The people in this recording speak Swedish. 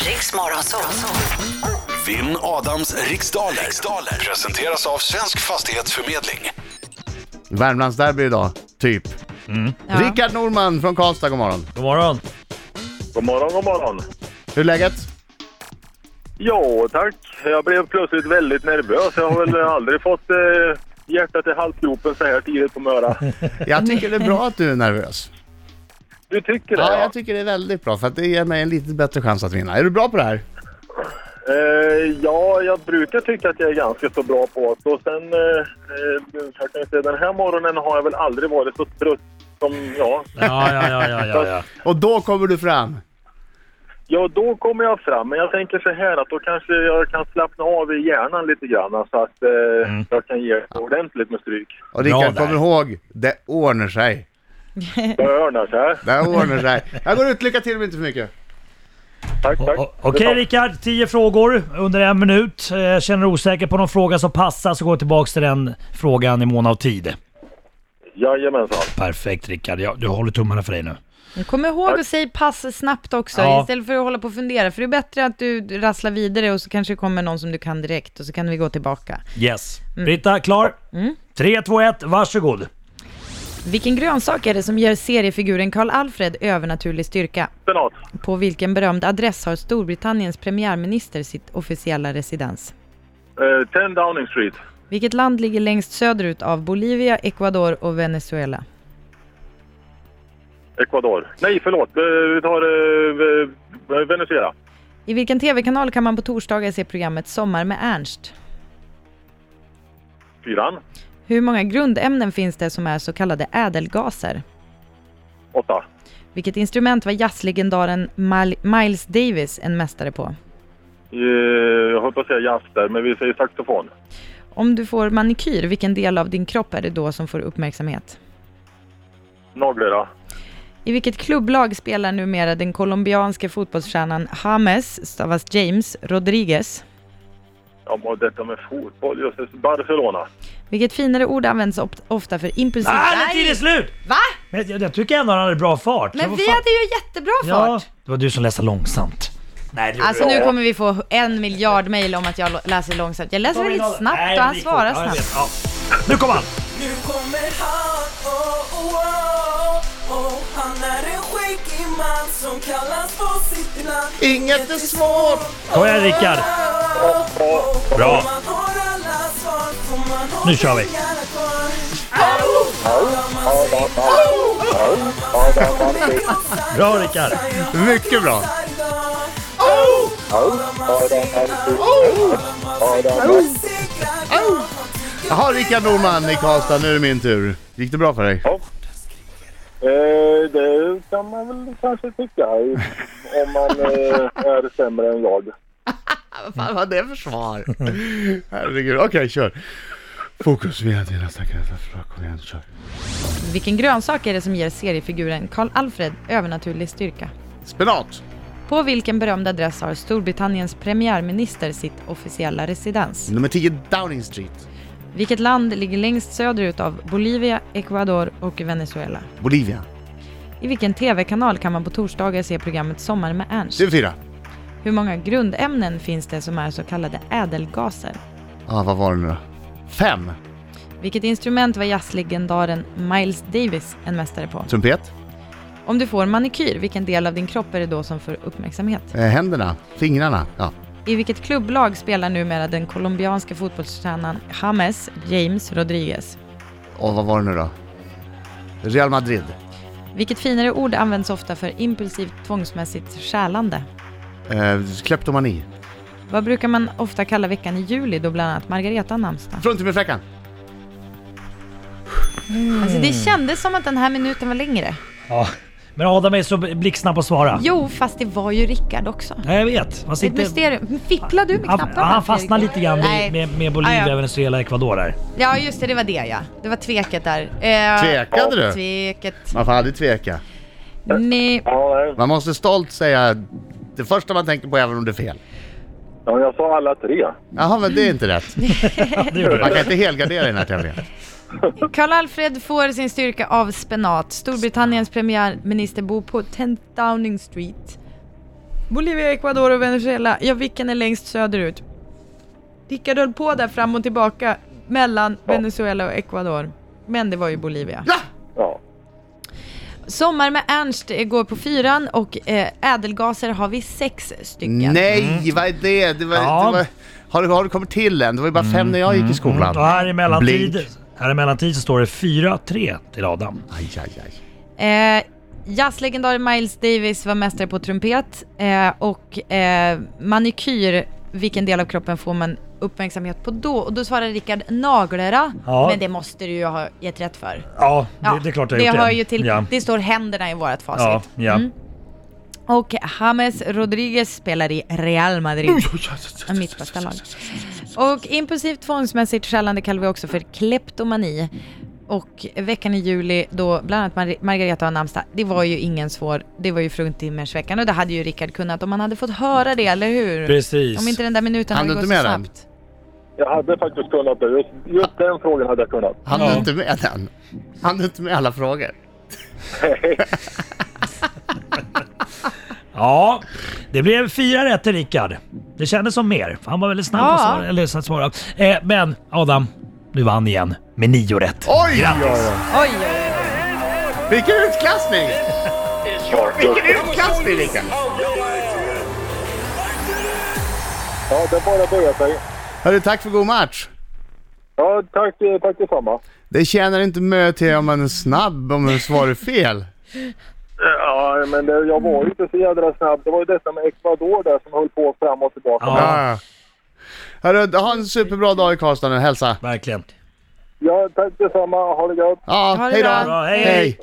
Riks Morgonzoo. Vinn Adams riksdaler. riksdaler presenteras av Svensk Fastighetsförmedling. Värmlandsderby idag, typ. Ja. Rickard Norman från Karlstad, god morgon. God morgon. God morgon, god morgon. Hur är läget? Ja, tack. Jag blev plötsligt väldigt nervös. Jag har väl aldrig fått eh, hjärtat i halsgropen så här tidigt på morgonen. Jag tycker det är bra att du är nervös. Du tycker det? Ja, jag tycker det är väldigt bra för att det ger mig en lite bättre chans att vinna. Är du bra på det här? eh, ja, jag brukar tycka att jag är ganska så bra på det. Och sen, eh, eh, jag kan säga, den här morgonen har jag väl aldrig varit så trött som, ja. Ja, ja, ja, ja, ja, ja. Och då kommer du fram. Ja, då kommer jag fram. Men jag tänker så här att då kanske jag kan slappna av i hjärnan lite grann så att eh, jag kan ge ordentligt med stryk. Och Rickard, där. kom ihåg, det ordnar sig. Det ordnar sig. Det ordnar sig. Jag går ut, lycka till men inte för mycket. Tack, tack. O- Okej Rickard, 10 frågor under en minut. Eh, Känner du osäker på någon fråga som passar så går tillbaks till den frågan i mån av tid. Jajamensan. Perfekt Rickard, ja, du håller tummarna för dig nu. Nu Kom ihåg att säga pass snabbt också, Ja. istället för att hålla på och fundera. För det är bättre att du rasslar vidare och så kanske det kommer någon som du kan direkt och så kan vi gå tillbaka. Yes. Mm. Britta, klar? 3, 2, 1, varsågod. Vilken grönsak är det som ger seriefiguren Karl Alfred övernaturlig styrka? Senat. På vilken berömd adress har Storbritanniens premiärminister sitt officiella residens? Eh, 10 Downing Street. Vilket land ligger längst söderut av Bolivia, Ecuador och Venezuela? Ecuador. Nej, förlåt. Eh, Vi tar eh, eh, Venezuela. I vilken tv-kanal kan man på torsdagar se programmet Sommar med Ernst? Fyran. Hur många grundämnen finns det som är så kallade ädelgaser? Åtta. Vilket instrument var jazzlegendaren Mal- Miles Davis en mästare på? Eh, Jag höll på att säga jazz där, men vi säger saxofon. Om du får manikyr, vilken del av din kropp är det då som får uppmärksamhet? Naglera. I vilket klubblag spelar numera den colombianske fotbollsstjärnan James, stavas James, Rodriguez? Ja, men detta med fotboll. Just det. Barcelona. Vilket finare ord används op- ofta för impulsiv... Ah, den tiden är slut! Va? Men jag, jag tycker ändå han hade bra fart. Men Vad vi fan- hade ju jättebra Ja, fart! det var du som läste långsamt. Nej, det gjorde Alltså du nu inte. kommer vi få en miljard mejl om att jag lo- läser långsamt. Jag läser väldigt snabbt Nej, och han det gick svarar fort. Ja, jag snabbt. vet. Ja. Nu kommer han! Nu kommer han, oh, oh, oh, oh. Han är en skäggig man som kallas på sitt namn Inget är svårt! Kom igen Rickard! Bra. Om man har alla svar får man ha Nu kör vi. pengarna kvar. Bra Rickard! Mycket bra. Oh! Jaha, Rickard Norman i Karlstad, nu är det min tur. Gick det bra för dig? Eh, Det kan man väl kanske tycka eh, om man eh, är sämre än jag. Fan vad det är för svar? Herregud, okej kör. Fokus, vi hade nästa kväll. Kom igen, kör. Vilken grönsak är det som ger seriefiguren Karl Alfred övernaturlig styrka? Spenat! På vilken berömd adress har Storbritanniens premiärminister sitt officiella residens? Nummer 10, Downing Street. Vilket land ligger längst söderut av Bolivia, Ecuador och Venezuela? Bolivia. I vilken TV-kanal kan man på torsdagar se programmet Sommar med Ernst? TV4. Hur många grundämnen finns det som är så kallade ädelgaser? Ah, vad var det nu då? Fem. Vilket instrument var jazzlegendaren Miles Davis en mästare på? Trumpet. Om du får manikyr, vilken del av din kropp är det då som får uppmärksamhet? Eh, händerna. Fingrarna. Ja. I vilket klubblag spelar numera den colombianska fotbollstränaren James, James Rodriguez? Och vad var det nu då? Real Madrid. Vilket finare ord används ofta för impulsivt tvångsmässigt stjälande? Eh, kleptomani. Vad brukar man ofta kalla veckan i juli då bland annat Margareta har namnsdag? Från till med fläckan. Mm. Alltså det kändes som att den här minuten var längre. Ja. Men Adam är så blixtsnabb att svara. Jo, fast det var ju Rickard också. Nej, jag vet. Man Ett mysterium. Fipplar du med Han, knapparna? han fastnar Fredrik? lite grann Nej. med, med, med Bolivia, Ah, ja. Venezuela, Ecuador där. Ja, just det, det var det ja. Det var tveket där. Eh, Tvekade du? Tveket. Man får aldrig tveka. Nej. Ja, nej. Man måste stolt säga det första man tänker på även om det är fel. Ja, jag sa alla tre. Jaha, men det är inte rätt. Det gjorde Man du. kan inte helgardera i den här tävlingen. Karl Alfred får sin styrka av spenat. Storbritanniens premiärminister bor på 10 Downing Street. Bolivia, Ecuador och Venezuela. Ja, vilken är längst söderut? Rickard höll på där fram och tillbaka mellan Venezuela och Ecuador. Men det var ju Bolivia. Ja. Sommar med Ernst eh, går på fyran och eh, ädelgaser har vi sex stycken. Nej, vad är det? det, var, Ja. det var, har, du, har du kommit till än? Det var ju bara fem när jag gick i skolan. Och mm. här i mellantid, Blink. här i mellantid så står det 4-3 till Adam. Aj, aj, aj. Eh, Jazzlegendaren Miles Davis var mästare på trumpet eh, och eh, manikyr, vilken del av kroppen får man uppmärksamhet på då? Och då svarade Rickard naglarna, Ja. men det måste du ju ha gett rätt för. Ja, det, det är klart jag har gjort hör ju till, Ja. det Mm. står händerna i vårt facit. Ja, ja. Och James Rodriguez spelar i Real Madrid. Mitt bästa lag. Och impulsivt tvångsmässigt skällande kallar vi också för kleptomani. Och veckan i juli då bland annat Mar- Margareta har namnsdag, det var ju ingen svår, det var ju fruntimmersveckan och det hade ju Rickard kunnat om han hade fått höra det, eller hur? Precis. Om inte den där minuten Han hade är gått så inte med den. snabbt. Jag hade faktiskt kunnat det. Just, just den frågan hade jag kunnat. Han Ja. är inte med den. Han är inte med alla frågor. Ja, det blev fyra rätt till Rickard. Det kändes som mer. för Han var väldigt snabb Ja. att svara. Eller, så att svara. Eh, men Adam, du vann igen med nio rätt. Oj! Grattis! Oj, oj, oj. Vilken utklassning! Vilken utklassning, Rickard! Ja, det bara börjar sig. Hörru, tack för god match. Ja, tack, eh, tack detsamma. Det tjänar inte mö till om man är snabb om man svarar fel. Ja, men det, jag var ju inte så jädra snabb. Det var ju detta med Ecuador där som höll på fram och tillbaka. Ja. Ja. Hörru, ha en superbra dag i Karlstad nu. Hälsa. Verkligen. Ja, tack detsamma. Ha det gött. Ja, Ha det hej bra. då. Bra, hej. Hej.